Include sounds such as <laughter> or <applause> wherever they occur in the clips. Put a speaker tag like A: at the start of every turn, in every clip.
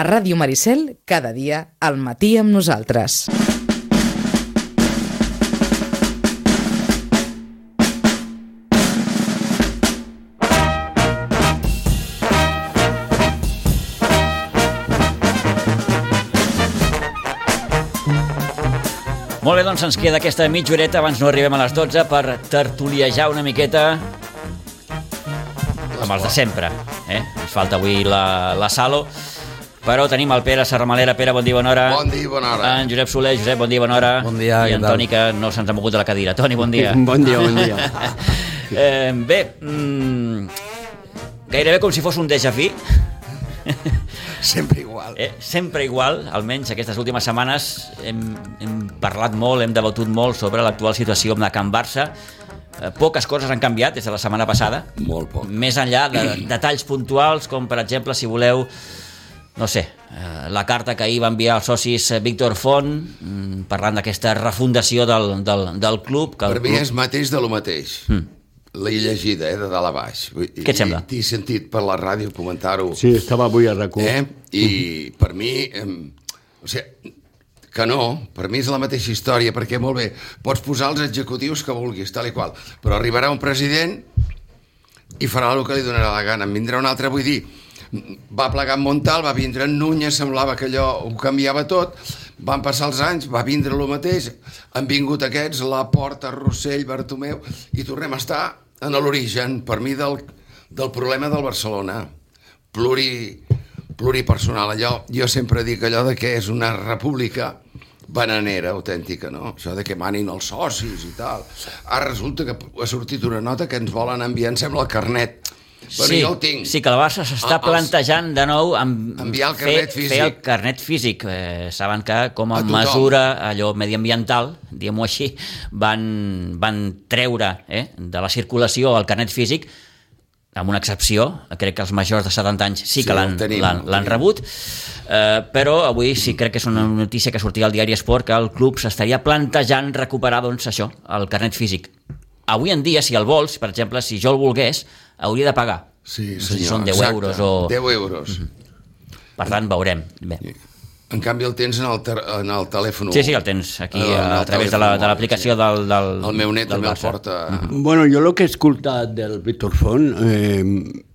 A: A Ràdio Maricel, cada dia, al matí amb nosaltres.
B: Molt bé, doncs ens queda aquesta mitja horeta, abans no arribem a les 12, per tertuliejar una miqueta amb els de sempre. Eh? Ens falta avui la, la Salo, però tenim el Pere Serramalera. Pere, bon dia, bona hora.
C: Bon dia i bona hora.
B: En Josep Soler, Josep, bon dia, bona hora.
D: Bon dia,
B: I
D: què
B: en
D: tal?
B: Toni, que no se'ns ha mogut de la cadira. Toni, bon dia.
D: <laughs> Bon dia, bon dia.
B: <laughs> Eh, bé, mm, gairebé com si fos un déjà vu,
C: Sempre igual.
B: Eh, sempre igual, almenys aquestes últimes setmanes hem, hem parlat molt, hem debatut molt sobre l'actual situació amb la Can Barça. Eh, poques coses han canviat des de la setmana passada.
C: Molt poc.
B: Més enllà de detalls puntuals, com per exemple, si voleu, no sé, eh, la carta que ahir va enviar els socis eh, Víctor Font mm, parlant d'aquesta refundació del, del, del club. Que el
C: Per mi
B: club-
C: és mateix de lo mateix. L'he llegida, eh, de dalt a baix. Vull dir,
B: Hmm. Què et sembla?
C: T'he sentit per la ràdio comentar-ho.
D: Sí, estava avui a rac
C: Eh? I per mi... em, o sigui, que no, per mi és la mateixa història, perquè molt bé, pots posar els executius que vulguis, tal i qual, però arribarà un president i farà el que li donarà la gana. En vindrà un altre, vull dir, va plegar en Montal, va vindre en Núñez, semblava que allò ho canviava tot, van passar els anys, va vindre el mateix, han vingut aquests, la Porta, Rossell, Bartomeu, i tornem a estar en l'origen, per mi, del, del problema del Barcelona. Pluri, pluripersonal, allò, jo sempre dic allò de que és una república bananera autèntica, no? Això de que manin els socis i tal. Ara resulta que ha sortit una nota que ens volen enviar, em sembla, el carnet. Però
B: sí,
C: jo el tinc.
B: Sí, que el Barça s'està
C: Ah, els-
B: plantejant de nou amb,
C: Enviar el
B: fer-
C: carnet
B: Fer el
C: físic.
B: carnet físic. Eh, saben que com a,
C: A tothom.
B: mesura allò mediambiental, diguem-ho així, van, van treure eh, de la circulació el carnet físic amb una excepció, crec que els majors de 70 anys sí
C: Sí,
B: que l'han
C: el tenim,
B: l'han-
C: el
B: l'han
C: tenim.
B: rebut, eh, però avui sí crec que és una notícia que sortia al diari Esport que el club s'estaria plantejant recuperar doncs, això, el carnet físic. Avui en dia, si el vols, per exemple, si jo el volgués, hauria de pagar.
C: Sí,
B: No sé
C: senyor,
B: si són 10
C: exacte.
B: euros o...
C: 10 euros.
B: Per tant, veurem. Bé.
C: En canvi el tens en el, ter... en el telèfon.
B: Sí, sí, el tens aquí
C: En el
B: a, través de la- de
C: telèfon,
B: l'aplicació
C: sí.
B: la, de del, del...
C: El meu net
B: del
C: també el
B: Barça.
C: porta...
D: Bueno, jo el que he escoltat del Víctor Font, eh,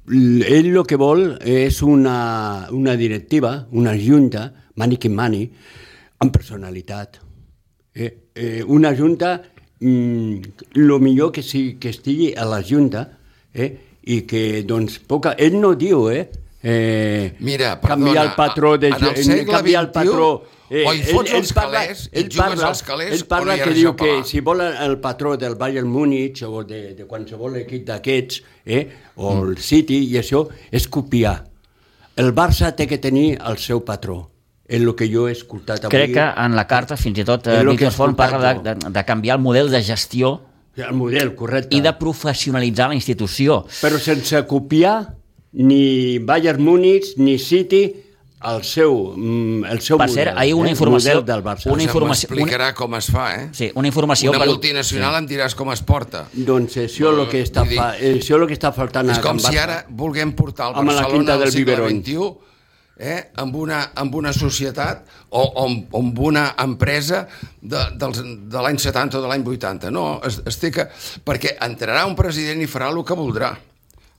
D: ell el que vol és una, una directiva, una junta, mani qui mani, amb personalitat. Eh, eh, una junta, mm, lo millor que, sigui, que estigui a la junta, eh, i que, doncs, poca... Ell no diu, eh? eh
C: Mira,
D: canviar
C: perdona,
D: el patró de
C: en el segle
D: canviar el patró
C: XXI,
D: eh,
C: o hi fots els calés i
D: ell
C: jugues
D: parla,
C: als calés
D: ell
C: o
D: parla
C: no hi ha
D: que
C: res
D: diu
C: a
D: que
C: pagar.
D: si vol el patró del Bayern Múnich o de, de qualsevol equip d'aquests eh, o
C: Mm.
D: el City i això és copiar el Barça té que tenir el seu patró és el que jo he escoltat avui
B: Crec que en la carta fins i tot eh,
D: És el que
B: Víctor
D: he
B: Font parla de,
D: escoltat,
B: de, de canviar el model de gestió
D: el model correcte
B: i de professionalitzar la institució.
D: però sense copiar ni Bayern Múnich ni City el seu, mm, el seu
B: Per
D: model,
B: cert, ahir una
D: eh,
B: informació-
D: model del Barça.
B: una
C: Una
B: informació-
C: informació... M'explicarà com es fa, eh?
B: Sí, una informació...
C: Una
B: per-
C: multinacional em diràs com es porta.
D: Doncs això és el que està,
C: Vull dir-
D: fa, eh, això és el que està faltant
C: És
D: a
C: com
D: Can Barça.
C: si ara vulguem portar el
D: Amb la
C: Barcelona
D: quinta
C: al
D: del
C: segle
D: biberón.
C: XXI eh, amb, una, amb una societat o, o amb, amb una empresa de, dels, de l'any 70 o de l'any 80. No, es, es té que... Perquè entrarà un president i farà el que voldrà.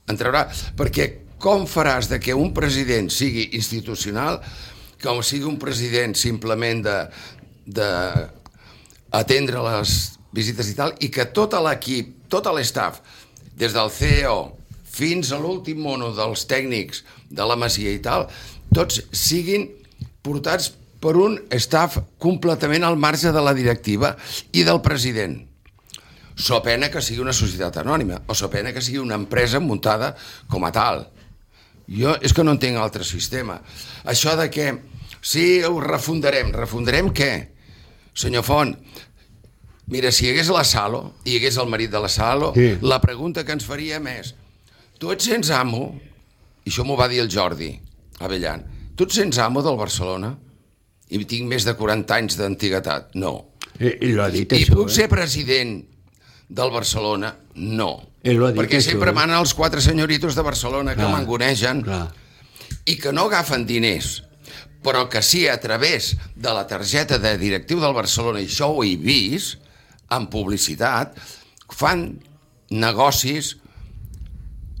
C: Entrarà... Perquè com faràs de que un president sigui institucional com sigui un president simplement de, de atendre les visites i tal, i que tot l'equip, tot l'estaf, des del CEO fins a l'últim mono dels tècnics de la Masia i tal, tots siguin portats per un staff completament al marge de la directiva i del president. So pena que sigui una societat anònima, o so pena que sigui una empresa muntada com a tal. Jo és que no entenc altre sistema. Això de que sí, ho refundarem. Refundarem què? Senyor Font, mira, si hi hagués la Salo, i hi hagués el marit de la Salo,
D: Sí.
C: sí. la pregunta que ens faríem és tu et sents amo, i això m'ho va dir el Jordi Avellan, tu et sents amo del Barcelona? I tinc més de 40 anys d'antiguitat. No.
D: I, i l'ha dit
C: I
D: això, eh?
C: puc ser president del Barcelona? No.
D: Ell ho ha dit,
C: Perquè
D: això,
C: sempre
D: eh?
C: manen els quatre senyoritos de Barcelona que
D: Clar,
C: m'angonegen
D: Clar.
C: i que no agafen diners. però que sí a través de la targeta de directiu del Barcelona, i això ho he vist, en publicitat, fan negocis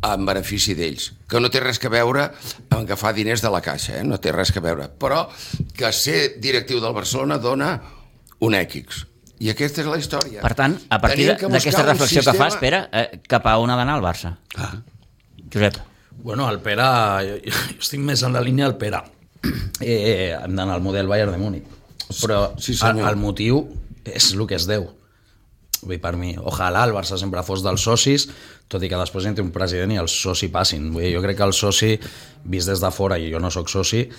C: en benefici d'ells, que no té res que veure amb agafar diners de la caixa, eh? no té res que veure, però que ser directiu del Barcelona dona un èquix. I aquesta és la història.
B: Per tant, a partir
C: Tenim que
B: d'aquesta
C: buscar un
B: reflexió que fa,
C: sistema-
B: espera, eh, cap a on ha d'anar el Barça? Ah. Josep,
E: Bueno, el Pere, jo, jo estic més en la línia del Pere. Eh, hem d'anar al model Bayern de Múnich. Però
C: Sí,
E: el,
C: senyor.
E: el motiu és el que es deu. Vull dir, per mi, ojalà el Barça sempre fos dels socis, tot i que després entre un president i el soci passin. Vull dir, jo crec que el soci, vist des de fora, i jo no sóc soci,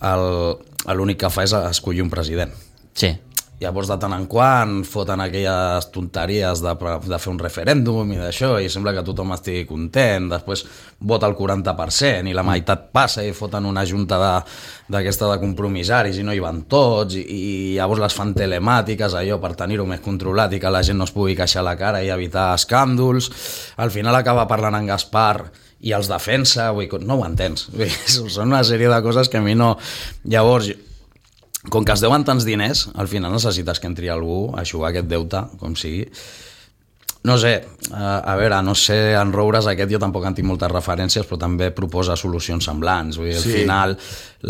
E: el- l'únic que fa és escollir un president.
B: sí.
E: Llavors, de tant en quant, foten aquelles tonteries de, de fer un referèndum i d'això, i sembla que tothom estigui content, després vota el 40% i la meitat passa i foten una junta de- d'aquesta de, de compromisaris i no hi van tots, i, i llavors les fan telemàtiques, allò, per tenir-ho més controlat i que la gent no es pugui queixar a la cara i evitar escàndols. Al final acaba parlant en Gaspar i els defensa, vull, dir, no ho entens. Vull, dir, <laughs> són una sèrie de coses que a mi no... Llavors, com que es deuen tants diners, al final necessites que entri algú a jugar aquest deute, com sigui. No sé, a, a veure, no sé, en Roures aquest jo tampoc en tinc moltes referències, però també proposa solucions semblants. Vull dir, al
C: Sí.
E: final,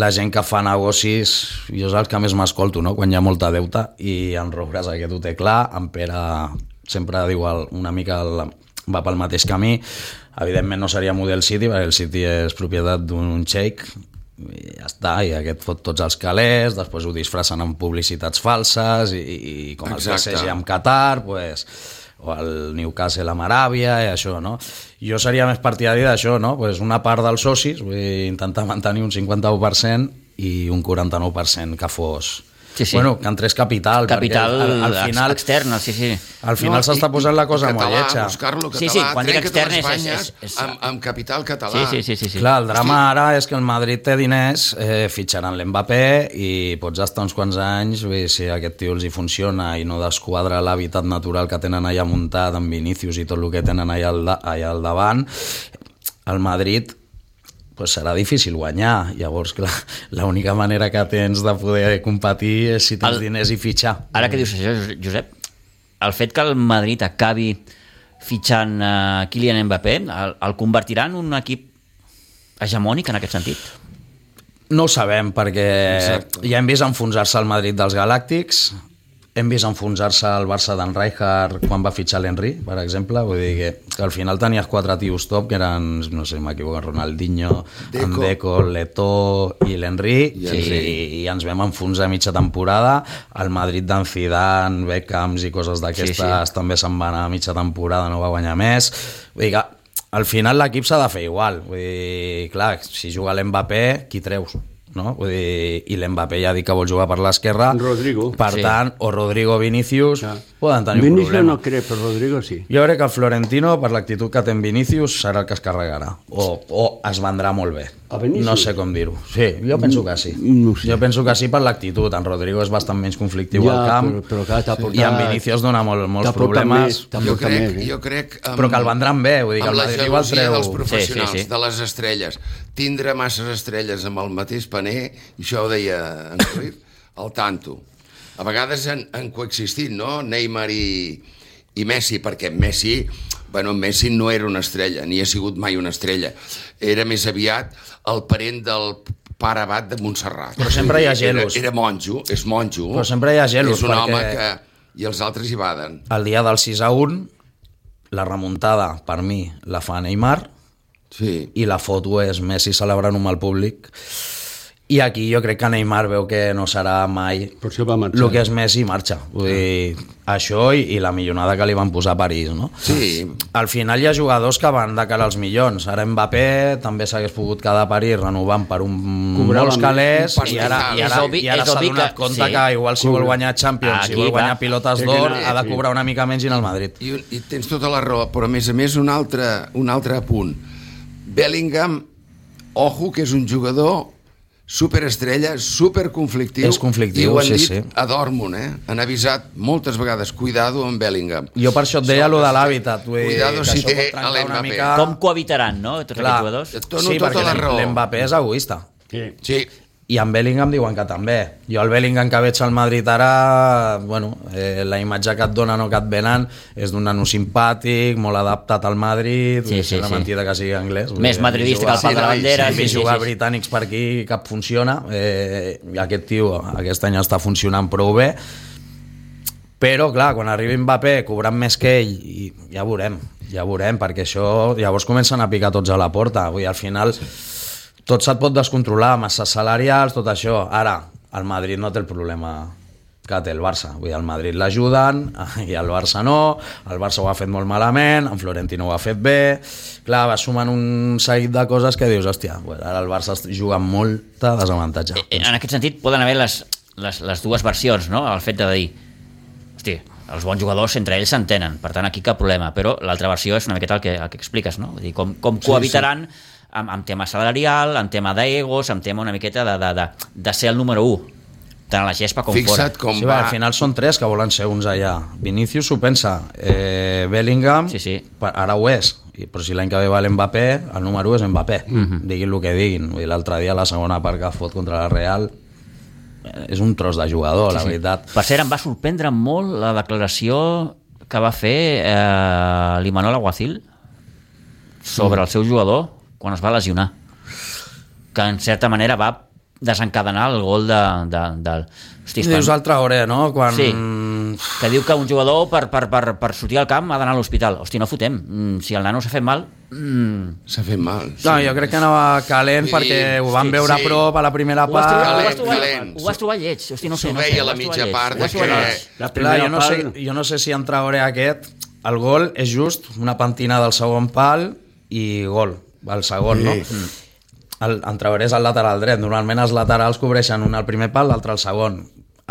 E: la gent que fa negocis, jo és el que més m'escolto, no?, quan hi ha molta deuta, i en Roures aquest ho té clar, en Pere sempre diu el, una mica el, va pel mateix camí, evidentment no seria Model City, perquè el City és propietat d'un xeic, i ja està, i aquest fot tots els calés, després ho disfressen amb publicitats falses, i, i, i com el
C: Exacte.
E: PSG amb Qatar, pues, o el Newcastle amb Aràbia i això, no? Jo seria més partidari d'això, no? Pues una part dels socis, vull dir, intentar mantenir un 51% i un 49% que fos...
B: Sí, sí.
E: Bueno, que entrés capital,
B: Capital
E: perquè al, al final,
B: extern, sí, sí.
E: al final
C: No,
E: s'està
C: i-
E: posant la cosa molt
C: català,
E: lletja.
C: Buscar-lo
B: Sí,
C: català,
B: sí, quan dic
C: trenca-te
B: extern
C: les
B: és- és-
C: banyes
B: és-
C: amb, amb capital català.
B: Sí, sí, sí, sí, sí.
E: Clar, el drama ara és que el Madrid té diners, eh, fitxaran l'Mbappé i pots estar uns quants anys, vull dir, si aquest tio els hi funciona i no desquadra l'hàbitat natural que tenen allà muntat amb Vinícius i tot el que tenen allà al, da- allà al davant, el Madrid pues serà difícil guanyar. Llavors, clar, <laughs> l'única manera que tens de poder competir és si tens
B: El-
E: diners i fitxar.
B: Ara que dius això, Jo- Josep, el fet que el Madrid acabi fitxant uh, Kylian Mbappé, el, el convertirà en un equip hegemònic en aquest sentit?
E: No ho sabem, perquè
C: Exacte.
E: ja hem vist enfonsar-se el Madrid dels Galàctics, hem vist enfonsar-se el Barça d'en Rijkaard quan va fitxar l'Henry, per exemple, vull dir que, que al final tenies quatre tios top, que eren, no sé, m'equivoco, Ronaldinho, Deco. en
C: Deco.
E: Deco, Leto i l'Henry,
C: I
E: i,
C: Henry.
E: i, ens vam enfonsar mitja temporada, el Madrid d'en Zidane, Beckhams i coses
B: Sí,
E: d'aquestes sí. també se'n va anar a mitja temporada, no va guanyar més, vull dir que al final l'equip s'ha de fer igual. Vull dir, clar, si juga l'Mbappé, qui treus? No? Vull dir, I l'Mbappé ja ha dit que vol jugar per l'esquerra.
D: Rodrigo.
E: Per
B: Sí.
E: sí. tant, o Rodrigo o Vinícius ja. poden tenir un
D: Vinicio
E: problema.
D: no cree, pero Rodrigo sí.
E: Jo crec que el Florentino, per l'actitud que té en Vinícius, serà el que es carregarà. O, o es vendrà molt bé.
D: A Vinícius?
E: No sé com dir-ho. Sí, jo penso que sí.
D: Mm, no ho sé.
E: Jo penso que sí per l'actitud. En Rodrigo és bastant menys conflictiu
D: Ja,
E: al camp.
D: però- però clar, t'ha portat-
E: I en Vinícius dona molt, molts
D: T'ha portat
E: problemes.
D: més, t'ha
C: Jo
D: portat
C: crec,
D: més, eh?
C: jo crec...
E: Però que el vendran bé, vull dir que
C: amb
E: el
C: la
E: Madrid igual
C: gelosia
E: treu...
C: dels professionals,
B: Sí, sí, sí.
C: de les estrelles. Tindre masses estrelles amb el mateix paner, i això ho deia
E: <coughs>
C: en Cruyff, el tanto. A vegades han, han coexistit, no?, Neymar i, i Messi, perquè Messi, bueno, Messi no era una estrella, ni ha sigut mai una estrella. Era més aviat el parent del pare abat de Montserrat.
E: Però sempre hi ha gelos.
C: Era, era monjo, és monjo.
E: Però sempre hi ha gelos,
C: És un
E: perquè-
C: home que... I els altres hi baden.
E: El dia del 6 a 1, la remuntada, per mi, la fa Neymar,
C: Sí.
E: i la foto és Messi celebrant un mal públic. I aquí jo crec que Neymar veu que no serà mai
D: Per això va marxar.
E: el que és Messi i marxa. Vull
D: Ah.
E: dir, això i, i la millonada que li van posar a París, no?
C: Sí,
E: Al final hi ha jugadors que van de cara als milions. Ara Mbappé també s'hagués pogut quedar a París renovant per un
D: Cobrava
E: molts
D: més.
E: calés
C: Un
E: i ara,
C: pastizal.
E: i ara,
B: És obvi-
E: i ara
B: és
E: s'ha
B: obvi
E: donat
B: que-
E: compte
B: sí.
E: que igual si vol guanyar Champions, si
B: Aquí
E: vol guanyar
B: va.
E: pilotes
D: Sí,
E: d'or,
D: que no,
E: ha de
D: sí.
E: cobrar una mica menys i anar al Madrid.
C: I, I tens tota la raó, però a més a més un altre, un altre punt. Bellingham, ojo, que és un jugador superestrella, superconflictiu.
E: És
C: i
E: conflictiu,
C: ho han
E: sí,
C: dit
E: sí.
C: a Dortmund, eh? Han avisat moltes vegades, cuidado amb Bellingham.
E: Jo per això et deia lo de l'hàbitat. vull dir,
C: Cuidado
E: que
C: si
E: això pot
C: té
E: trencar
C: l'Mbappé.
E: una mica-
B: Com cohabitaran, no, tots
E: Clar.
B: aquests jugadors?
C: Et dono tota
E: perquè
C: la raó.
E: L'Mbappé és egoista.
D: Sí.
C: Sí,
E: i amb Bellingham diuen que també. Jo el Bellingham que veig al Madrid ara, bueno, eh, la imatge que et donen o que et venen és d'un nano simpàtic, molt adaptat al Madrid,
B: Sí, sí,
E: sí, sí, una
B: sí.
E: mentida que sigui anglès.
B: Més madridista que el pal de la bandera,
E: Sí,
B: sí,
E: sí,
B: sí,
E: jugar
B: sí, sí.
E: britànics per aquí cap funciona. Eh, aquest tio aquest any està funcionant prou bé, però, clar, quan arribi Mbappé cobrant més que ell, i ja veurem, ja veurem, perquè això... Llavors comencen a picar tots a la porta. Vull dir, al final tot se't pot descontrolar, masses salarials, tot això. Ara, el Madrid no té el problema que té el Barça. Vull dir, el Madrid l'ajuden <laughs> i el Barça no, el Barça ho ha fet molt malament, en Florentino ho ha fet bé... Clar, va sumant un seguit de coses que dius, hòstia, pues ara el Barça es juga amb molta desavantatge.
B: Eh, En aquest sentit, poden haver les, les, les dues versions, no? El fet de dir, hosti, els bons jugadors entre ells s'entenen, per tant, aquí cap problema, però l'altra versió és una miqueta el que, el que expliques, no? Vull dir, com, com cohabitaran sí, sí. Amb, amb tema salarial, amb tema d'egos, amb tema una miqueta de, de, de, de ser el número 1, tant a la gespa com
C: Fixa't
B: fora.
C: com
E: sí, va.
C: va...
E: Al final són tres que volen ser uns allà. Vinicius s'ho pensa, eh, Bellingham,
B: Sí, sí.
E: pa- ara ho és, i- però si l'any que ve va l'Mbappé, el número 1 és Mbappé, diguin el que diguin. Vull dir, L'altre dia la segona part que fot contra la Real eh, és un tros de jugador, sí, la veritat.
B: Per cert, em va sorprendre molt la declaració que va fer eh, l'Imanol Aguacil sobre el seu jugador quan es va lesionar. Que, en certa manera, va desencadenar el gol de... de, de... Hosti,
E: I dius
B: quan...
E: altra hora, no? Quan...
B: Sí, que diu que un jugador per, per, per, per sortir al camp ha d'anar a l'hospital. Hosti, no fotem. Mm, Si el nano s'ha fet mal... Mm,
C: S'ha fet mal.
E: No, jo crec que anava calent
C: Sí,
E: perquè ho van
C: sí, sí.
E: veure a prop a la primera
B: ho, vas trobar, ho,
E: part.
B: vas trobar,
C: Calent.
B: ho vas trobar lleig. Hosti, no ho sé,
C: S'ho
B: no ho sé,
C: veia a
B: ho
C: la
B: vas trobar
C: mitja
B: lleig.
C: part
B: Ho vas
C: de
B: trobar
C: que-
B: lleig.
D: La
E: Clar,
D: primera
E: jo, no sé,
D: part-
E: jo no sé si en Traoré aquest, el gol és just una pentina del segon pal i gol, el segon, sí. no? Mm. El, en Traoré és el lateral dret, normalment els laterals cobreixen un al primer pal, l'altre al segon.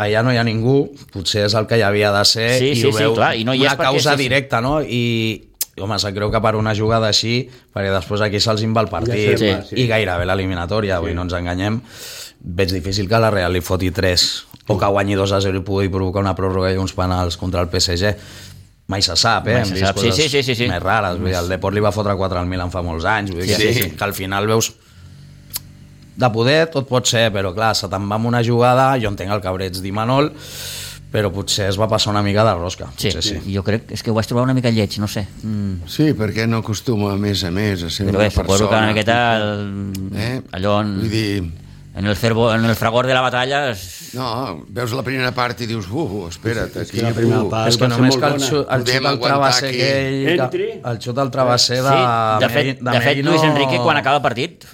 E: Allà no hi ha ningú, potser és el que hi havia de ser
B: Sí,
E: i
B: sí,
E: ho
B: sí,
E: veu
B: clar, i no hi és
E: una
B: perquè
E: causa
B: és-
E: directa, no? I, home, se'm creu que per una jugada així, perquè després aquí se'ls inva el
D: Ja
E: partit
D: sé,
E: sí.
D: va, sí.
E: i gairebé l'eliminatòria, sí. avui no ens enganyem, veig difícil que la Real li foti 3 o que guanyi 2 a 0 i pugui provocar una pròrroga i uns penals contra el PSG. Mai se sap, eh?
B: Mai
E: Hem
B: se
E: vist
B: sap. Sí,
E: coses
B: sí, sí, sí, sí.
E: Més rares. Vull dir, el Deport li va fotre 4 al Milan fa molts anys. Vull dir,
C: Sí,
E: que,
C: sí, sí.
E: que al final veus de poder tot pot ser, però clar, se te'n va amb una jugada, jo entenc el cabreig d'Imanol, però potser es va passar una mica de rosca.
B: Sí,
E: potser
B: sí, jo crec és que ho vaig trobar una mica lleig, no sé. Mm.
C: Sí, perquè no acostuma a més a més a ser
B: Però
C: una
B: bé, suposo que una
C: persona.
B: miqueta el, eh?
C: Eh?
B: allò en,
C: Vull dir,
B: en, el cervo, en el fragor de la batalla es...
C: no, veus la primera part i dius, uh, espera't,
D: És
C: aquí...
D: que la primera
C: uh,
D: part
E: és que
D: Ah, va ser
E: només
D: molt
E: que el,
D: bona.
E: xut,
C: Podem
E: el xut al
C: aguantar
E: travesser
C: aquí.
E: aquell...
D: Entri.
E: Que, el xut al travesser de...
B: de fet,
E: Meri-
B: de fet
E: Merino-
B: Luis Enrique quan acaba el partit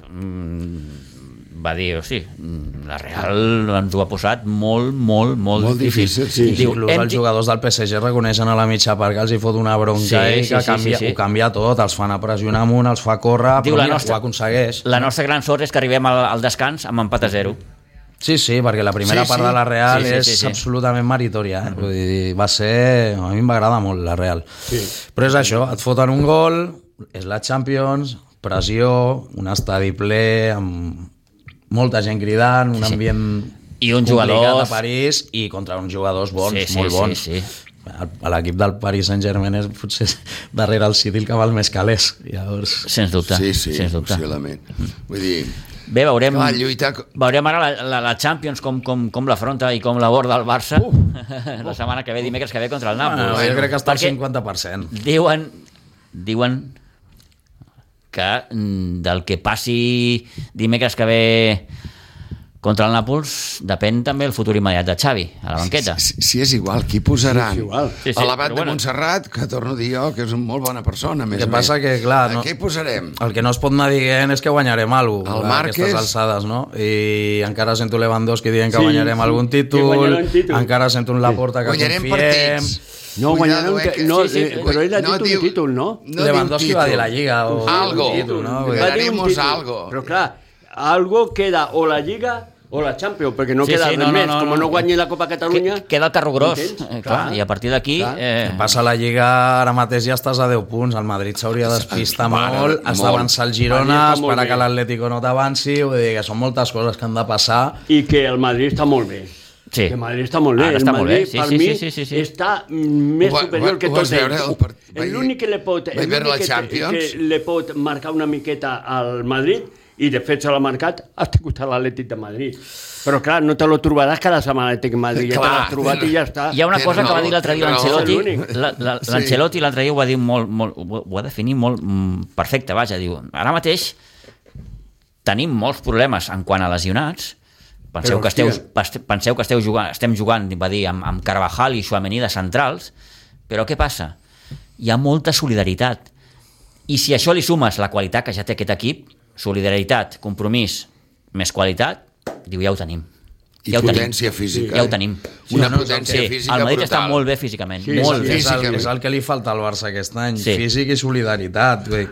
B: mm, va dir, hosti, mm, la Real ens ho ha posat molt, molt, molt,
C: Molt difícil, sí,
B: I
E: Diu,
B: diu,
E: inclús
B: hem
E: els jugadors del PSG reconeixen a la mitja part que els hi fot una bronca
B: Sí,
E: sí, i
B: sí,
E: que
B: sí,
E: canvia,
B: sí, sí.
E: ho canvia tot, els fan a pressionar amunt, els fa córrer,
B: Diu,
E: però
B: la
E: mira,
B: nostra-
E: ho aconsegueix.
B: La nostra gran sort és que arribem al, al descans amb empat a zero.
E: Sí, sí, perquè la primera
C: Sí,
E: part
C: sí.
E: de la Real
B: Sí, sí, sí,
E: és
B: sí. Mm.
E: absolutament meritòria. Eh? Vull dir, va ser... A mi m'agrada molt la Real. Sí. Però és això, et foten un gol, és la Champions, pressió, un estadi ple, amb molta gent cridant, un ambient
B: I uns
E: complicat
B: jugadors-
E: a París i contra uns jugadors bons,
B: Sí, sí,
E: molt
B: sí,
E: bons.
B: sí.
E: El- a L'equip del Paris Saint-Germain és potser <laughs> darrere el City el que val més calés. Llavors...
B: Sens dubte.
C: Sí, sí,
B: sens dubte.
C: possiblement. Vull dir,
B: Bé, veurem...
C: clar, lluitar... co-
B: Veurem ara la, la, la Champions com, com, com l'afronta i com l'aborda el Barça uh, <laughs> la setmana que ve, dimecres que ve contra el Nàpols.
E: Bueno, Ah, jo crec que està al
B: Perquè
E: 50%.
B: Diuen, diuen que mm, del que passi dimecres que ve contra el Nàpols depèn també el futur immediat de Xavi a la banqueta.
C: Si, si és igual, qui posaran?
D: Sí, és igual.
B: Sí, sí,
C: a l'abat
B: però
C: de
B: bueno.
C: Montserrat, que torno a dir jo, que és una molt bona persona, a més
E: que
C: a
E: passa
C: més.
E: que, clar, no-
C: A què hi posarem?
E: El que no es pot anar dient és que guanyarem alguna
C: El
E: cosa a aquestes
C: Márquez.
E: alçades, no? I encara sento Lewandowski dient que
D: Sí,
E: guanyarem
D: sí,
E: algun
D: que
E: títol,
D: guanyaran títol.
E: encara sento un Laporta que
C: Guanyarem
E: confiem...
C: partits.
D: No,
C: Cuidado,
D: guanyaran
C: eh,
D: que-
C: que-
D: no,
C: sí, sí,
D: eh,
C: sí,
D: però ell ha
C: no
D: dit un
C: diu-
D: títol, no?
C: diu
E: Lewandowski va
C: títol.
E: dir la Lliga o...
C: Algo.
E: un títol, no?
C: Vull dir,
D: Va dir un
C: Ganaremos
D: títol,
C: algo.
D: Però clar, algo queda o la Lliga o la Champions, perquè no
B: Sí,
D: queda
B: sí,
D: res
B: no, no,
D: més.
B: no,
D: Com
B: no.
D: no guanyi la Copa Catalunya...
B: Que- Queda el carro gros, eh,
D: Entens?
B: clar,
D: Clar.
B: i a partir d'aquí...
D: Clar.
B: Eh,
E: Passa la Lliga, ara mateix ja estàs a 10 punts, el Madrid s'hauria d'espistar
C: Mare,
E: molt, has
C: molt.
E: d'avançar el Girona,
D: Madrid està molt
E: esperar
D: bé.
E: que l'Atlético no t'avanci, vull dir que són moltes coses que han de passar.
D: I que el Madrid està molt bé.
B: Sí.
D: Que el Madrid està molt bé.
B: Ara
D: el
B: està molt
D: Madrid,
B: bé, sí,
D: per
B: sí,
D: mi,
B: sí, sí, sí, sí.
D: està més
C: Ho va-
D: superior
C: ho
D: que
C: vas
D: tot ell.
C: veure el part- vaig-
D: L'únic que, li pot,
C: vaig veure
D: l'únic
C: la
D: que,
C: Champions.
D: que li pot marcar una miqueta al Madrid i defensa el mercat, has tingut a l'Atlètic de Madrid. Però clar, no te lo trobaràs cada setmana l'Atlètic de Madrid, ja te
C: Clar.
D: l'has trobat i ja està.
B: Hi ha una
C: Té
B: cosa que va
C: raó,
B: dir l'altre dia
C: té raó.
D: És
B: l'Ancelotti,
D: l'únic.
B: la- la-
C: Sí.
B: l'Ancelotti l'altre dia ho va dir molt, molt, ho ho va definir molt mm, perfecte, vaja, diu, ara mateix tenim molts problemes en quant a lesionats, penseu,
D: Però,
B: que esteu,
D: hòstia.
B: pas- penseu que esteu jugant, estem jugant, va dir, amb, amb Carvajal i Suamení de centrals, però què passa? Hi ha molta solidaritat, i si a això li sumes la qualitat que ja té aquest equip, solidaritat, compromís, més qualitat, diu, ja ho tenim.
C: I
B: ja ho tenim.
C: potència física.
B: Ja ho tenim.
C: Una
E: no, no,
C: potència
B: Sí,
C: física
B: el Madrid
C: brutal.
B: està molt bé físicament,
D: Sí,
B: sí, molt
C: sí,
B: bé.
E: És el,
C: Físicament.
E: és el que li falta al Barça aquest any,
B: Sí.
E: sí. físic i solidaritat. Vull. dir,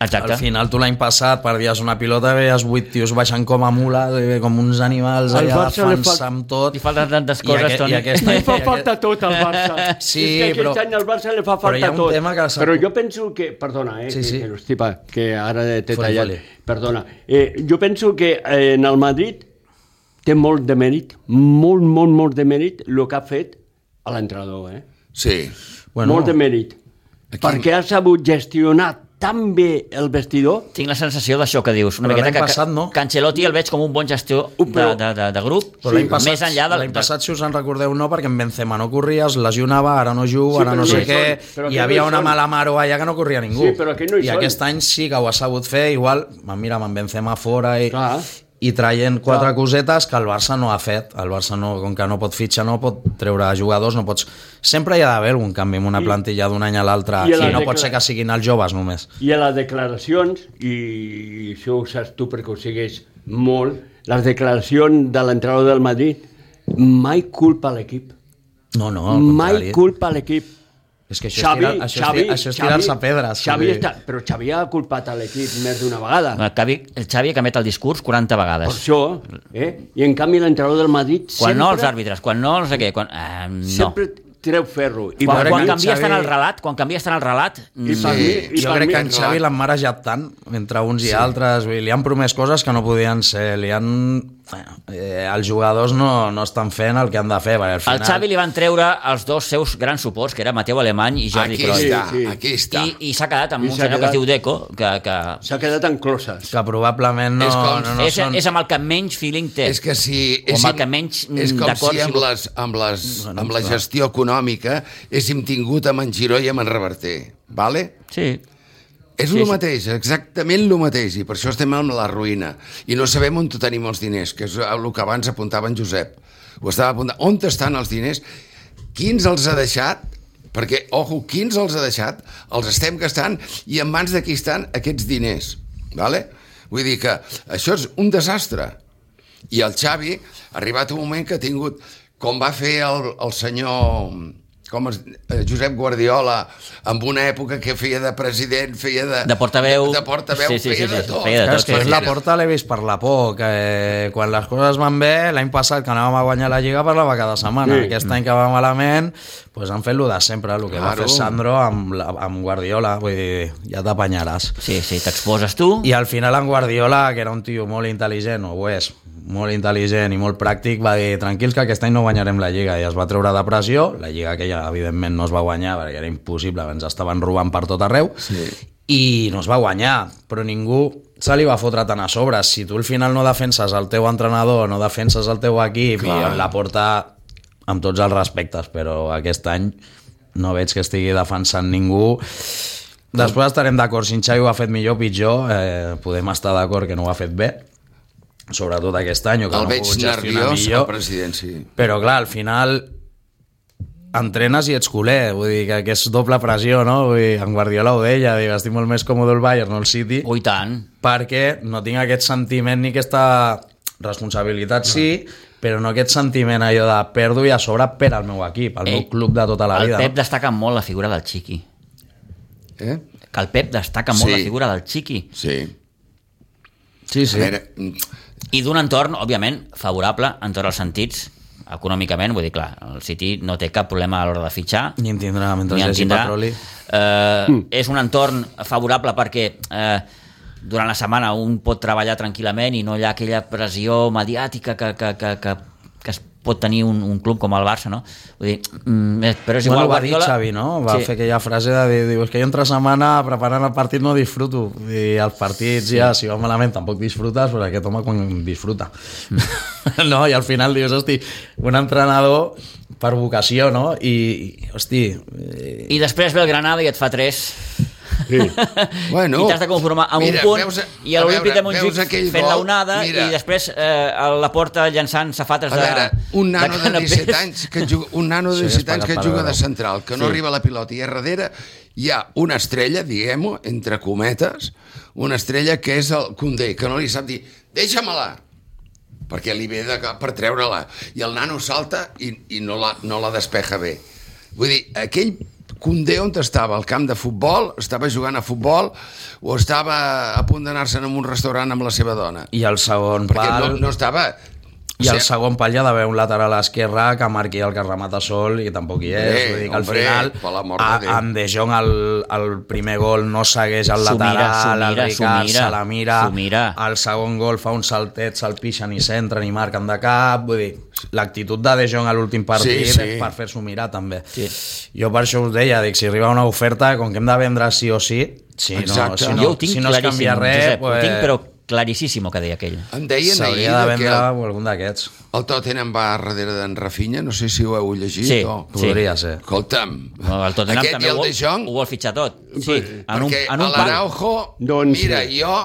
B: Exacte.
E: Al final, tu l'any passat perdies una pilota, veies vuit tios baixant com a mula, eh, com uns animals
D: Al
E: allà,
D: Barça li
E: defensar
D: fal-
E: amb tot.
B: Li falten tantes
E: I
B: coses,
E: aquest-
B: Toni.
E: I aquest
D: Li
E: any...
D: fa falta tot al Barça.
E: <laughs> Sí,
D: és que aquest
E: però-
D: any al Barça li fa
E: però hi
D: falta
E: ha un
D: tot.
E: tema que s'ha-
D: Però jo penso que... Perdona, eh?
E: Sí,
D: que-
E: sí.
D: Que, hosti, pa, que ara t'he
E: Foli,
D: tallat.
E: foli.
D: Perdona. Eh, jo penso que eh, en el Madrid té molt de mèrit, molt, molt, molt de mèrit el que ha fet a l'entrenador, eh?
C: Sí.
E: Bueno.
D: Bueno, molt de mèrit. Aquí... Perquè ha sabut gestionar tan bé el vestidor
B: <laughs> Tinc la sensació d'això que dius. Una
E: Però
B: miqueta
E: l'any
B: que,
E: passat no.
B: que Ancelotti el veig com un bon gestor de,
D: però-
B: de, de, de grup,
E: Però l'any passat,
B: més enllà de...
E: l'any passat, si us en recordeu, no, perquè en Benzema no corria, es lesionava, ara no
D: Sí,
E: juga, sí, ara
D: però
E: no
D: no
E: sé
D: hi
E: què,
D: són, però
E: hi
D: que no
E: havia
D: hi
E: una
D: són.
E: malamaro allà que no corria ningú.
D: Sí, però que no hi
E: I
D: són.
E: aquest any sí que ho ha sabut fer, igual, mira, amb en Benzema fora i,
D: Clar.
E: i traient quatre cosetes que el Barça no ha fet. El Barça, no, com que no pot fitxar, no pot treure jugadors, no pots... Sempre hi ha d'haver algun canvi en una plantilla d'un any a l'altre,
D: I a
E: i
D: la
E: no
D: tecla-
E: pot ser que siguin els joves només.
D: I a les declaracions, i, i això ho saps tu perquè ho segueix molt, les declaracions de l'entrenador del Madrid mai culpa l'equip.
E: No, no, al
D: Mai
E: contrari.
D: culpa l'equip.
E: És que això Xavi, és tirar- això és tirar- això és tirar-se pedres.
D: Xavi
E: vull dir. Ah,
D: està, però Xavi ha culpat a l'equip més d'una vegada.
B: El Xavi, el Xavi que met el discurs 40
D: Per
B: vegades.
D: això, eh? I en canvi l'entrenador del Madrid
B: Quan
D: sempre,
B: no els àrbitres, quan no els... Què, quan, eh, no.
D: sempre treu ferro. I
B: quan,
E: veure
B: quan
E: que en
B: canvies
E: Xavi-
B: tant el relat, quan canvies tant el relat,
D: I per mi, i
E: jo
D: per
E: crec
D: mi,
E: que en Xavi l'han marejat tant entre uns sí. i altres, vull, dir, li han promès coses que no podien ser, li han... Bueno, eh, els jugadors no, no estan fent el que han de fer, perquè al
B: al
E: final...
B: Xavi li van treure els dos seus grans suports, que era Mateu Alemany i Jordi
C: Aquí
B: Cruyff.
C: està,
D: Sí, sí.
C: aquí està.
B: I, i s'ha quedat amb
D: I
B: un
D: s'ha
B: senyor que
D: quedat-
B: es diu Deco, que, que
D: s'ha quedat en closes.
E: que probablement no,
C: És com-
E: no, no
B: és,
E: són...
B: és amb el que menys feeling té.
C: És que si...
B: O amb
C: és
B: el que menys, mm,
C: És com
B: d'acord,
C: si amb,
B: sí.
C: les, amb, les, amb la gestió econòmica héssim tingut amb en Giró i amb en Reverter, vale?
B: Sí.
C: És
B: Sí,
C: el
B: sí.
C: mateix, exactament el mateix, i per això estem amb la ruïna. I no sabem on tenim els diners, que és el que abans apuntava en Josep. Ho estava apuntant. On estan els diners? Quins els ha deixat? Perquè, ojo, quins els ha deixat? Els estem gastant i en mans de qui estan aquests diners. Vale? Vull dir que això és un desastre. I el Xavi ha arribat un moment que ha tingut, com va fer el, el senyor com es, eh, Josep Guardiola, en una època que feia de president, feia de...
B: De portaveu.
C: De, de portaveu, sí, sí, feia, sí, sí, de tot.
B: feia de
E: Clar,
B: tot,
E: és que
B: sí,
E: és la porta l'he vist per la por, que eh, quan les coses van bé, l'any passat que anàvem a guanyar la Lliga parlava cada setmana,
D: Sí.
E: sí. aquest any que va malament, doncs han fet lo de sempre, el que
C: Claro.
E: va fer Sandro amb, la, amb Guardiola, vull dir, ja t'apanyaràs.
B: Sí, sí, t'exposes tu.
E: I al final en Guardiola, que era un tio molt intel·ligent, o ho és, molt intel·ligent i molt pràctic, va dir, tranquils que aquest any no guanyarem la Lliga, i es va treure de pressió, la Lliga que ja evidentment no es va guanyar, perquè era impossible, ens estaven robant per tot arreu, sí. i no es va guanyar, però ningú se li va fotre tant a sobre. Si tu al final no defenses el teu entrenador, no defenses el teu equip, Clar. i en la porta amb tots els respectes, però aquest any no veig que estigui defensant ningú Després estarem d'acord si en Xavi ho ha fet millor o pitjor, eh, podem estar d'acord que no ho ha fet bé, sobretot aquest any, o que
C: El
E: no ho ha
C: veig
E: pogut gestionar
C: nerviós, el
E: millor.
C: president, sí.
E: Però clar, al final entrenes i ets culer, vull dir que, que és doble pressió, no? Vull dir, en Guardiola ho deia, diu, estic molt més còmode al Bayern, no al City,
B: Oh, i tant.
E: perquè no tinc aquest sentiment ni aquesta responsabilitat, sí, però no aquest sentiment allò de perdo i a sobre per al meu equip, al meu
B: Ei,
E: club de tota la
B: El
E: vida.
B: Pep
E: no?
B: destaca molt la figura del Chiqui.
C: Eh?
B: Que el Pep destaca molt
C: Sí.
B: la figura del Chiqui.
C: Sí.
E: Sí,
C: A
E: sí.
C: veure,
B: I d'un entorn, òbviament, favorable en tots els sentits, econòmicament, vull dir, clar, el City no té cap problema a l'hora de fitxar,
E: Ni en tindrà mentre
B: ni
E: hi
B: en
E: hagi
B: tindrà.
E: petroli.
B: Eh, és un entorn favorable perquè eh, durant la setmana un pot treballar tranquil·lament i no hi ha aquella pressió mediàtica que, que, que, que, que es pot tenir un, un club com el Barça, no? Vull dir, mm, eh, però és
E: Bueno,
B: igual,
E: ho va dir
B: Guardiola-
E: Xavi, no? Va sí. fer aquella frase de dir, diu, és que jo entre setmana preparant el partit no disfruto. I els partits sí. ja, si va malament, tampoc disfrutes, però aquest home quan disfruta. Mm. <laughs> no? I al final dius, hosti, un entrenador per vocació, no? I, i, hosti, eh,
B: I després ve el Granada i et fa 3.
D: Sí.
C: Bueno,
B: I t'has de conformar amb
C: mira,
B: un punt
C: veus-
B: i
C: a
B: a l'Olímpic de
C: veure,
B: Montjuïc
C: veus aquell
B: fent
C: gol?
B: la onada
C: Mira.
B: i després eh, a la porta llançant safates
C: A veure,
B: de
C: un nano de
B: canapés.
C: 17 anys que juga, un nano de
E: Això ja és
C: 17 anys
E: pagar
C: que
E: per
C: juga de
E: veure-ho.
C: central, que no
B: Sí.
C: arriba a la pilota i a darrere hi ha una estrella, diguem-ho, entre cometes, una estrella que és el Condé, que no li sap dir, deixa-me-la, perquè li ve de cap per treure-la. I el nano salta i, i no, la, no la despeja bé. Vull dir, aquell Condé on estava, al camp de futbol, estava jugant a futbol o estava a punt d'anar-se'n a un restaurant amb la seva dona.
E: i el segon
C: Perquè
E: pal...
C: no, no estava...
E: I
C: O
E: el
C: sigui,
E: segon pal hi ha d'haver un lateral esquerre que marqui el que remata sol i tampoc hi és.
C: Hombre,
E: Vull dir que al
C: hombre, per
E: final,
C: l'amor de
E: a-
C: Déu.
E: amb De Jong el, el primer gol no segueix el
B: S'ho mira, s'ho
E: lateral,
B: mira,
E: el
B: s'ho
E: Ricard
B: mira,
E: se la mira,
B: s'ho mira.
E: el segon gol fa un saltet, se'l pixen i s'entren i marquen de cap. Vull dir, l'actitud de De Jong a l'últim partit
C: Sí, sí.
E: és per fer-s'ho mirar també. Sí. Jo per això us deia, dic, si arriba una oferta, com que hem de vendre sí o sí, si no,
C: Exacte.
E: si no,
B: jo ho tinc
E: si no es
B: claríssim,
E: canvia res,
B: Josep, ho
E: pues,
B: tinc però claríssim el que deia aquell.
C: Em deien ahir
E: s'hauria de
C: que
E: vendre
C: el,
E: algun d'aquests.
C: el Tottenham va darrere d'en Rafinha, no sé si ho heu llegit.
B: Sí,
C: o...
B: sí.
E: Podria ser.
C: Escolta'm,
B: El Tottenham
C: aquest
B: també
C: i
B: ho,
C: el
B: vol-
C: De Jong,
B: ho vol fitxar tot. Sí, en un,
C: perquè
B: en un pal.
C: l'Araujo,
D: Doncs sí.
C: mira, jo...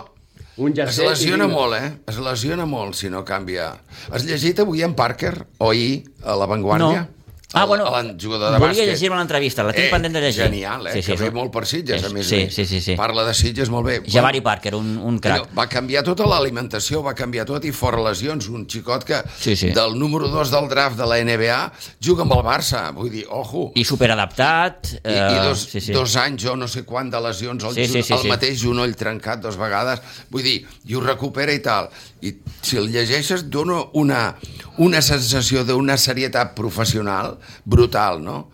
D: Un
C: Es
D: llacet i
C: lesiona
D: vinga.
C: molt, eh? Es lesiona molt si no canvia. Has llegit avui en Parker, o ahir, a La Vanguardia?
B: Ah,
C: El-
B: bueno,
C: el jugador de
B: volia
C: bàsquet. Eh,
B: llegir-me l'entrevista, la tinc pendent de llegir.
C: Genial, eh?
B: Sí, sí,
C: que
B: és
C: ve
B: un-
C: molt per Sitges,
B: és-
C: a més.
B: sí,
C: bé.
B: sí, sí, sí.
C: Parla de Sitges molt bé.
B: Javari Parker, un, un crac.
C: Allò, Va canviar tota l'alimentació, va canviar tot i fora lesions. Un xicot que
B: Sí, sí.
C: del número 2 del draft de la NBA juga amb el Barça. Vull dir, ojo.
B: I superadaptat.
C: I,
B: eh,
C: i dos,
B: sí, sí.
C: dos anys o no sé quant de lesions, el,
B: Sí, sí, sí,
C: el
B: sí.
C: mateix genoll trencat dues vegades, vull dir, i ho recupera i tal. I si el llegeixes dona una, una sensació d'una serietat professional brutal, no?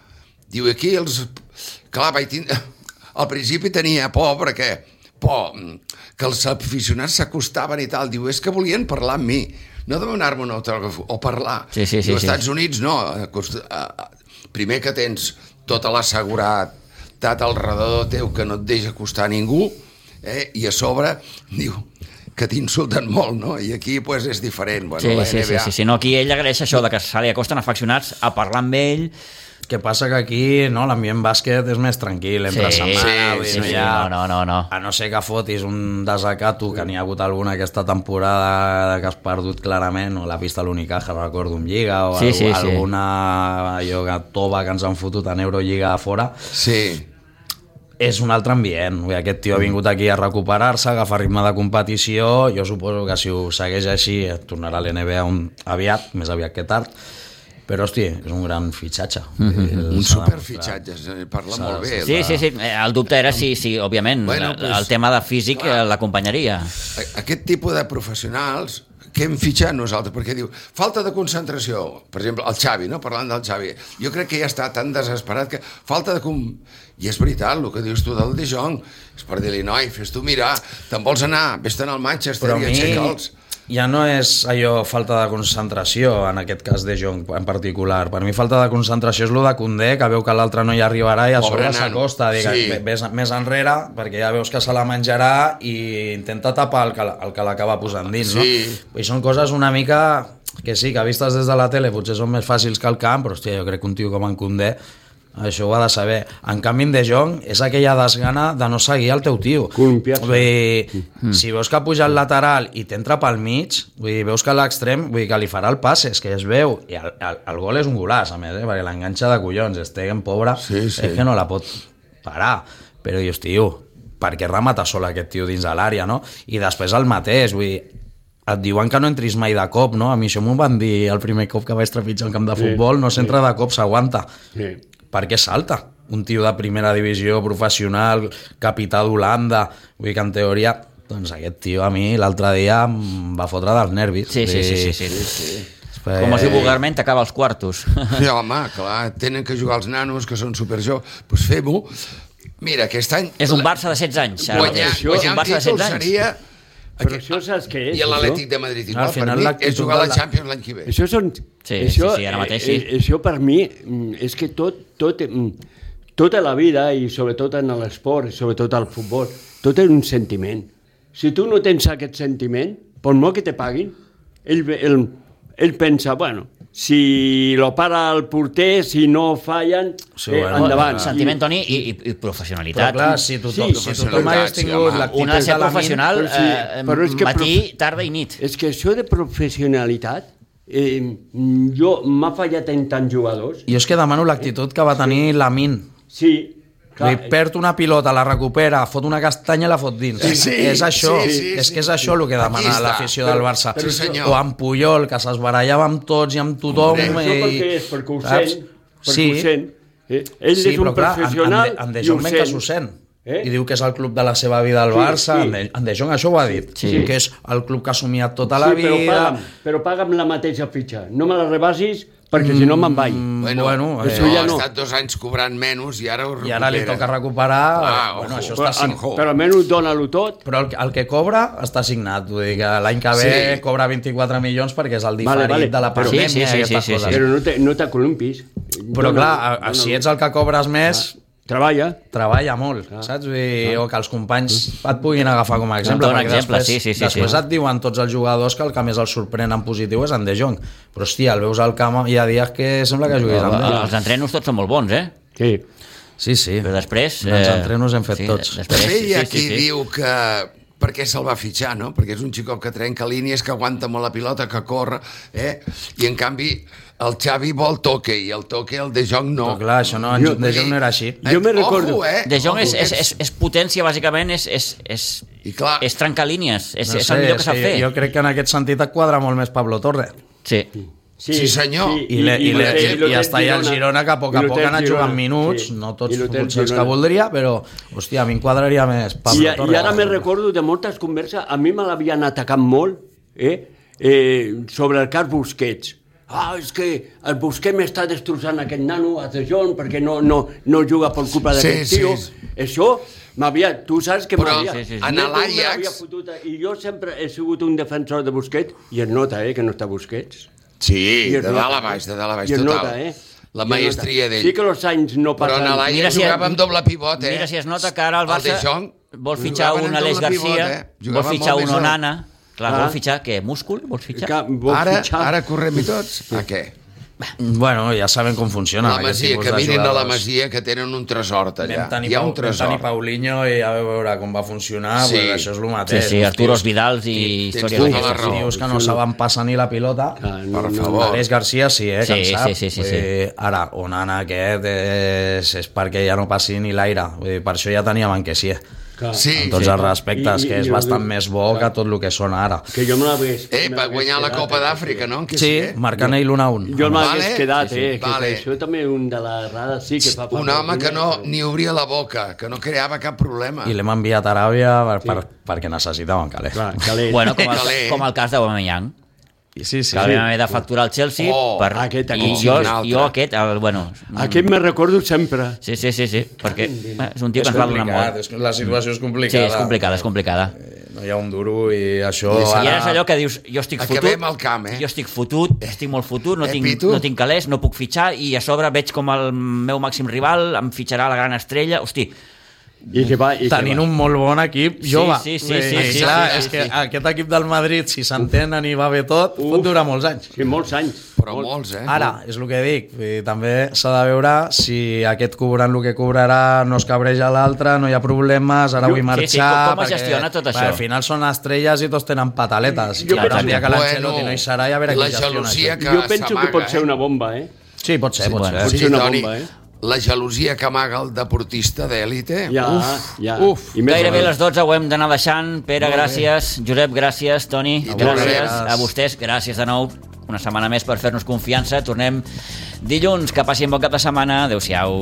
C: Diu, aquí els... Clar, vaig tind... <laughs> al principi tenia por perquè por mm, que els aficionats s'acostaven i tal. Diu, és que volien parlar amb mi, no demanar-me un autògraf o parlar.
B: Sí, sí, sí,
C: Diu,
B: sí.
C: Estats Units no. eh, acost- a- a- eh, Primer que tens tota l'assegurat tat al redador teu que no et deixa acostar a ningú eh? i a sobre <laughs> diu que t'insulten molt, no? I aquí pues, és diferent. Bueno,
B: Sí,
C: la
B: sí, sí,
C: NBA.
B: sí, sí, no, aquí ell agraeix això de que se li acosten aficionats a parlar amb ell
E: que passa que aquí no, l'ambient bàsquet és més tranquil entre
B: Sí,
E: setmana,
C: sí,
E: vull dir,
C: sí,
E: no,
C: sí,
E: hi ha-
B: no, no, no, no.
E: a no ser que fotis un desacato que n'hi ha hagut alguna aquesta temporada que has perdut clarament o la pista a l'Unicaja, recordo, en Lliga o
B: Sí,
E: algu-
B: sí, sí.
E: alguna allò que tova que ens han fotut en Eurolliga a fora
C: sí.
E: és un altre ambient. Vull dir, Aquest tio ha
B: Mm.
E: vingut aquí a recuperar-se, a agafar ritme de competició. Jo suposo que si ho segueix així eh, tornarà a l'NBA un... aviat, més aviat que tard. Però, hosti, és un gran fitxatge. Mm
B: Mm-hmm.
E: -hmm.
C: Un superfitxatge, eh, parla molt bé.
B: Sí,
C: la-
B: sí, sí, eh, el dubte era si, si òbviament,
C: Bueno,
B: bueno,
C: pues,
B: el tema de físic eh, l'acompanyaria.
C: A- Aquest tipus de professionals que hem fitxat nosaltres, perquè diu, falta de concentració, per exemple, el Xavi, no? parlant del Xavi, jo crec que ja està tan desesperat que falta de... Com... I és veritat, el que dius tu del De Jong, és per dir-li, noi, fes-t'ho mirar, te'n vols anar, vés-te'n al Manchester
E: Però a
C: i aixeca'ls.
E: mi ja no és allò falta de concentració, en aquest cas de Jong en particular. Per mi falta de concentració és lo de Condé, que veu que l'altre no hi arribarà i a
C: Pobre
E: sobre
C: nano.
E: s'acosta.
C: Sí.
E: Sí. Ves més enrere, perquè ja veus que se la menjarà i intenta tapar el que, la- el que l'acaba posant dins.
C: Sí.
E: No? I són coses una mica que sí, que vistes des de la tele potser són més fàcils que el camp, però hòstia, jo crec que un tio com en Condé això ho ha de saber. En canvi, en De Jong és aquella desgana de no seguir el teu tio.
D: Columpiar-se.
E: Vull dir, si veus que ha pujat lateral i t'entra pel mig, vull dir, veus que l'extrem, vull dir, que li farà el passe, és que es veu. I el, el, el gol és un golaç, a més, eh? perquè l'enganxa de collons, Stegen, pobra,
C: Sí, sí.
E: és que no la pot parar. Però dius, tio, per què remata sol aquest tio dins de l'àrea, no? I després el mateix, vull dir, et diuen que no entris mai de cop, no? A mi això m'ho van dir el primer cop que vaig trepitjar un camp de futbol, no s'entra de cop, s'aguanta
D: Sí.
E: per què salta? Un tio de primera divisió professional, capità d'Holanda, vull dir que en teoria... Doncs aquest tio a mi l'altre dia em va fotre dels nervis.
B: Sí,
E: eh,
B: sí, sí, sí. sí, sí, sí. Com
C: Eh.
B: es diu vulgarment, t'acaba els quartos. <laughs>
C: Sí, home, clar, tenen que jugar els nanos, que són superjoves, doncs pues fem-ho. Mira, aquest any...
B: és un Barça de 16 anys. ara
C: guanyar,
B: mateix.
C: guanyar
B: és un
C: un
B: Barça de
C: títol
B: 16 anys.
C: seria
D: Però això saps què és?
C: I l'Atlètic
D: això?
C: de Madrid
E: Al
C: igual, per
E: final
C: mi és
E: l'actitud
C: jugar a
E: de
C: la
E: la-
C: Champions l'any que ve.
D: Això són...
B: Sí,
D: això,
B: sí, sí, ara mateix sí.
D: eh, Això per mi mm, és que tot, tot, mm, tota la vida, i sobretot en l'esport, i sobretot al futbol, tot és un sentiment. Si tu no tens aquest sentiment, per molt que te paguin, ell, ve- ell, ell pensa, bueno, si lo para el porter, si no fallen, sí,
E: Sí,
D: eh,
E: bueno,
D: endavant.
B: Sentiment,
D: I-
B: Toni, i, i, i
E: Però
B: professionalitat.
E: clar, si tothom,
D: Sí,
E: si tothom
C: professionalitat,
E: hagués
C: sí,
E: tingut
C: home.
E: l'actitud
B: Un ha de ser
E: de la
B: professional
D: però sí,
B: eh,
D: però és que
B: matí,
D: prof-
B: tarda i nit.
E: Eh,
D: És que això de professionalitat, eh, jo m'ha fallat en tants jugadors.
E: Jo és que demano l'actitud que va tenir la Min.
D: Sí,
E: Clar,
C: eh,
E: Li perd una pilota, la recupera, fot una castanya i la fot dins.
C: Sí, sí,
E: és això,
C: sí, sí,
E: és
C: sí.
E: que és això el que demana
C: Aquí està.
E: l'afició del Barça.
C: però senyor.
E: o amb Puyol, que se'ls barallava amb tots i amb tothom.
C: Hombre.
D: Això per
E: i-
D: què és? Perquè ho
E: saps?
D: sent. Perquè
E: Sí,
D: ho sent. Eh? Ell
E: sí,
D: és un
E: però clar, en, en,
D: professional
E: De- en De
D: i ho
E: Jong ven que s'ho sent. Eh? I diu que és el club de la seva vida al
D: Sí,
E: Barça.
D: sí.
E: En, De, en De Jong això ho ha dit.
B: Sí.
E: Que és el club que ha somiat tota la
D: sí, però
E: vida.
D: paga'm, però paga'm la mateixa fitxa. No me la rebasis perquè si no me'n vaig.
E: Bueno, bueno
D: això
E: eh,
D: ja
C: ha
D: no.
C: estat dos anys cobrant menys i ara ho
E: I
C: recupera.
E: ara li toca recuperar...
C: Ah,
E: bueno,
C: ojo.
E: això
D: Però,
E: està sin...
C: ojo.
D: però almenys dona-lo tot.
E: Però el, que- el que cobra està signat. Vull dir que l'any que ve
C: Sí.
E: cobra 24 milions perquè és el diferit
D: Vale, vale.
E: de la
D: Però-
E: pandèmia
B: Sí, sí, sí,
E: i aquestes
B: sí, sí,
E: coses.
B: sí.
D: Però no te- no t'acolumpis. Dona-lo,
E: Però clar, a, a,
D: dona-lo.
E: si ets el que cobres més,
D: Treballa.
E: treballa molt, saps? Vull dir, o que els companys et puguin agafar com a exemple,
B: Dona
E: perquè
B: exemple,
E: després,
B: sí, sí, sí,
E: després
B: sí.
E: et diuen tots els jugadors que el que més els sorprèn en positiu és en De Jong. Però hòstia, el veus al camp i hi ha dies que sembla que juguis amb ell.
B: eh, Els entrenos tots són molt bons, eh?
D: Sí.
E: Sí, sí.
B: Però després... eh,
E: Els entrenos hem fet tots.
B: després-
C: També hi ha qui diu que per què se'l va fitxar, no? Perquè és un xicot que trenca línies, que aguanta molt la pilota, que corre, eh? I en canvi el Xavi vol toque, i el toque el De Jong no.
E: Però clar, això no, en
D: Jo-
E: De Jong no era així.
D: Jo me recordo-
C: Ojo, eh?
B: De Jong
C: Ojo,
B: és, és,
C: que
B: és, és potència, bàsicament, és, és, és,
C: I clar-
B: és trencar línies, és,
E: No
B: és el millor que
E: és
B: sap fer.
E: Jo, jo crec que en aquest sentit et quadra molt més Pablo Torre.
B: Sí.
C: Eh, Sí, senyor.
E: I, le, i, le, i, i,
D: l'hotel
E: està allà al Girona, que a poc a
D: I l'hotel
E: poc ha anat
D: Girona,
E: jugant minuts,
D: sí.
E: no
D: I
E: tots
D: l'hotel
E: potser els que
D: Girona.
E: voldria, però, hòstia, a mi em quadraria més Pablo
D: I,
E: Torre.
D: I ara me recordo de moltes converses, a mi me l'havien atacat molt, eh? Eh, sobre el cas Busquets. Ah, és que el Busquets m'està destrossant aquest nano a De Jong perquè no, no, no juga per culpa
C: Sí,
D: d'aquest
C: sí.
D: tio. Això m'havia... Tu saps que
C: Però
D: m'havia...
B: sí, sí, sí.
C: en
D: Jo me
C: l'Ajax-
D: l'havia fotut, I jo sempre he sigut un defensor de Busquets, i es nota, eh, que no està Busquets.
C: Sí,
D: I es
C: de dalt
D: nota,
C: a baix, de dalt a baix,
D: I es
C: total.
D: nota, eh?
C: La
D: I es
C: maestria
D: nota.
C: d'ell.
D: Sí que els anys no
C: Però
D: passen...
C: en l'Aia
B: Mira si-
C: jugava amb doble pivot, eh?
B: Mira si es nota que ara el Barça
C: de Jong
B: vol fitxar
C: jugaven
B: un
C: amb
B: Aleix
C: doble pivot,
B: Garcia,
C: eh?
B: vol
C: Jugaven
B: fitxar
C: molt
B: un
C: més alt.
B: Onana, clar,
D: Ah.
B: vol fitxar què? Múscul? Vol fitxar?
D: Que vol
C: Ara,
D: fitxar.
C: ara correm i tots? A què?
E: Bueno, ja saben com funciona.
C: La
E: aquest
C: Masia,
E: tipus
C: que
E: de
C: mirin a la
E: jugadors.
C: Masia, que tenen un tresor allà.
E: Vam tenir,
C: Hi ha
E: Pau-
C: un
E: vam tenir
C: tresor.
E: Paulinho i a veure com va funcionar,
C: Sí.
E: sí. pues, això és el
B: Sí,
E: mateix.
B: sí, Arturos Vidals i
C: tens
B: històries
C: tota
B: d'aquestes.
C: la raó.
E: Dius que no saben passar ni la pilota.
D: Ah, no,
C: Per
D: no, no.
C: favor.
E: Aleix Garcia sí, eh, que
B: Sí,
E: en sap.
B: sí, sí, sí,
E: Vull
B: sí.
E: dir, Ara, Onana aquest és, és perquè ja no passi ni l'aire. Vull dir, Per això ja teníem en Kessié.
D: Clar.
C: Sí,
E: En tots
C: sí.
E: els respectes,
D: I- i-
E: que és
D: i el-
E: bastant més bo que tot el que són ara.
D: Que jo me l'hagués...
C: Eh,
D: me
C: va
D: l'hagués
C: guanyar la
D: quedat,
C: Copa
D: eh?
C: d'Àfrica, no? Que
E: Sí,
C: eh?
E: marcant ell un a un.
D: Jo me l'hagués
C: Vale.
D: quedat,
C: Sí, sí.
D: eh? Que
C: Vale.
D: Això també un de les errades sí que fa...
C: un home que no ni obria la boca, que no creava cap problema.
E: I l'hem enviat a Aràbia per, per, perquè necessitàvem calés.
D: Clar, calés.
B: Bueno, com el,
C: Calé.
B: com el cas d'Aubameyang,
E: Sí, sí.
B: que sí. vam haver de facturar al Chelsea
C: Oh,
B: per...
D: aquest
B: I
D: aquí.
B: jo,
C: Un altre.
B: jo aquest, el, bueno...
D: Aquest me recordo sempre.
B: Sí, sí, sí, sí, perquè eh, és un tio que
E: És
B: ens va donar
E: complicat,
B: molt.
E: és, que la situació és
B: Sí,
E: complicada. Eh,
B: és complicada, és complicada.
E: No hi ha un duro i això...
C: I
B: I ara és allò que dius, jo estic
C: Acabem
B: fotut,
C: al camp, eh?
B: jo estic fotut, estic molt fotut, no,
C: Eh,
B: tinc,
C: Pitu?
B: no tinc calés, no puc fitxar, i a sobre veig com el meu màxim rival em fitxarà la gran estrella, hosti,
D: I que va... I
E: tenint
D: que va.
E: un molt bon equip
B: Sí,
E: jove.
B: sí, sí,
E: Eh,
B: sí,
E: i
B: sí,
E: clar,
B: sí,
E: és
B: sí,
E: que
B: sí.
E: aquest equip del Madrid, si s'entenen i va bé tot, pot durar molts anys.
D: Sí, molts anys.
C: Però molts, eh?
E: Ara, és el que dic, i també s'ha de veure si aquest cobrant el que cobrarà no es cabreja l'altre, no hi ha problemes, ara
B: Jo-
E: vull
B: sí,
E: marxar...
B: sí, com- com es
E: perquè-
B: gestiona tot això?
E: Perquè Al final són estrelles i tots tenen pataletes.
D: Jo
E: Jo
D: penso-
E: el dia que l'Ancelotti no hi serà, ja veurà
C: la
E: qui gestiona
C: gelosia
E: això.
C: que
D: Jo penso que
C: s'amaga,
D: pot ser
C: eh?
D: una bomba, eh?
E: Sí, pot ser, pot
B: bueno,
E: ser.
D: pot
C: Sí,
D: ser una
C: Toni,
D: bomba, eh?
C: La gelosia que amaga el deportista d'èlite...
D: Ja,
C: Uf,
D: ja.
C: Uf.
D: I més
B: Gairebé
D: o
B: a
D: menys.
B: les 12 ho hem d'anar deixant. Pere, gràcies. Josep, gràcies. Toni,
C: I
B: gràcies.
E: vosaltres.
B: A vostès, gràcies de nou. Una setmana més per fer-nos confiança. Tornem dilluns. Que passin bon cap de setmana. Adéu-siau.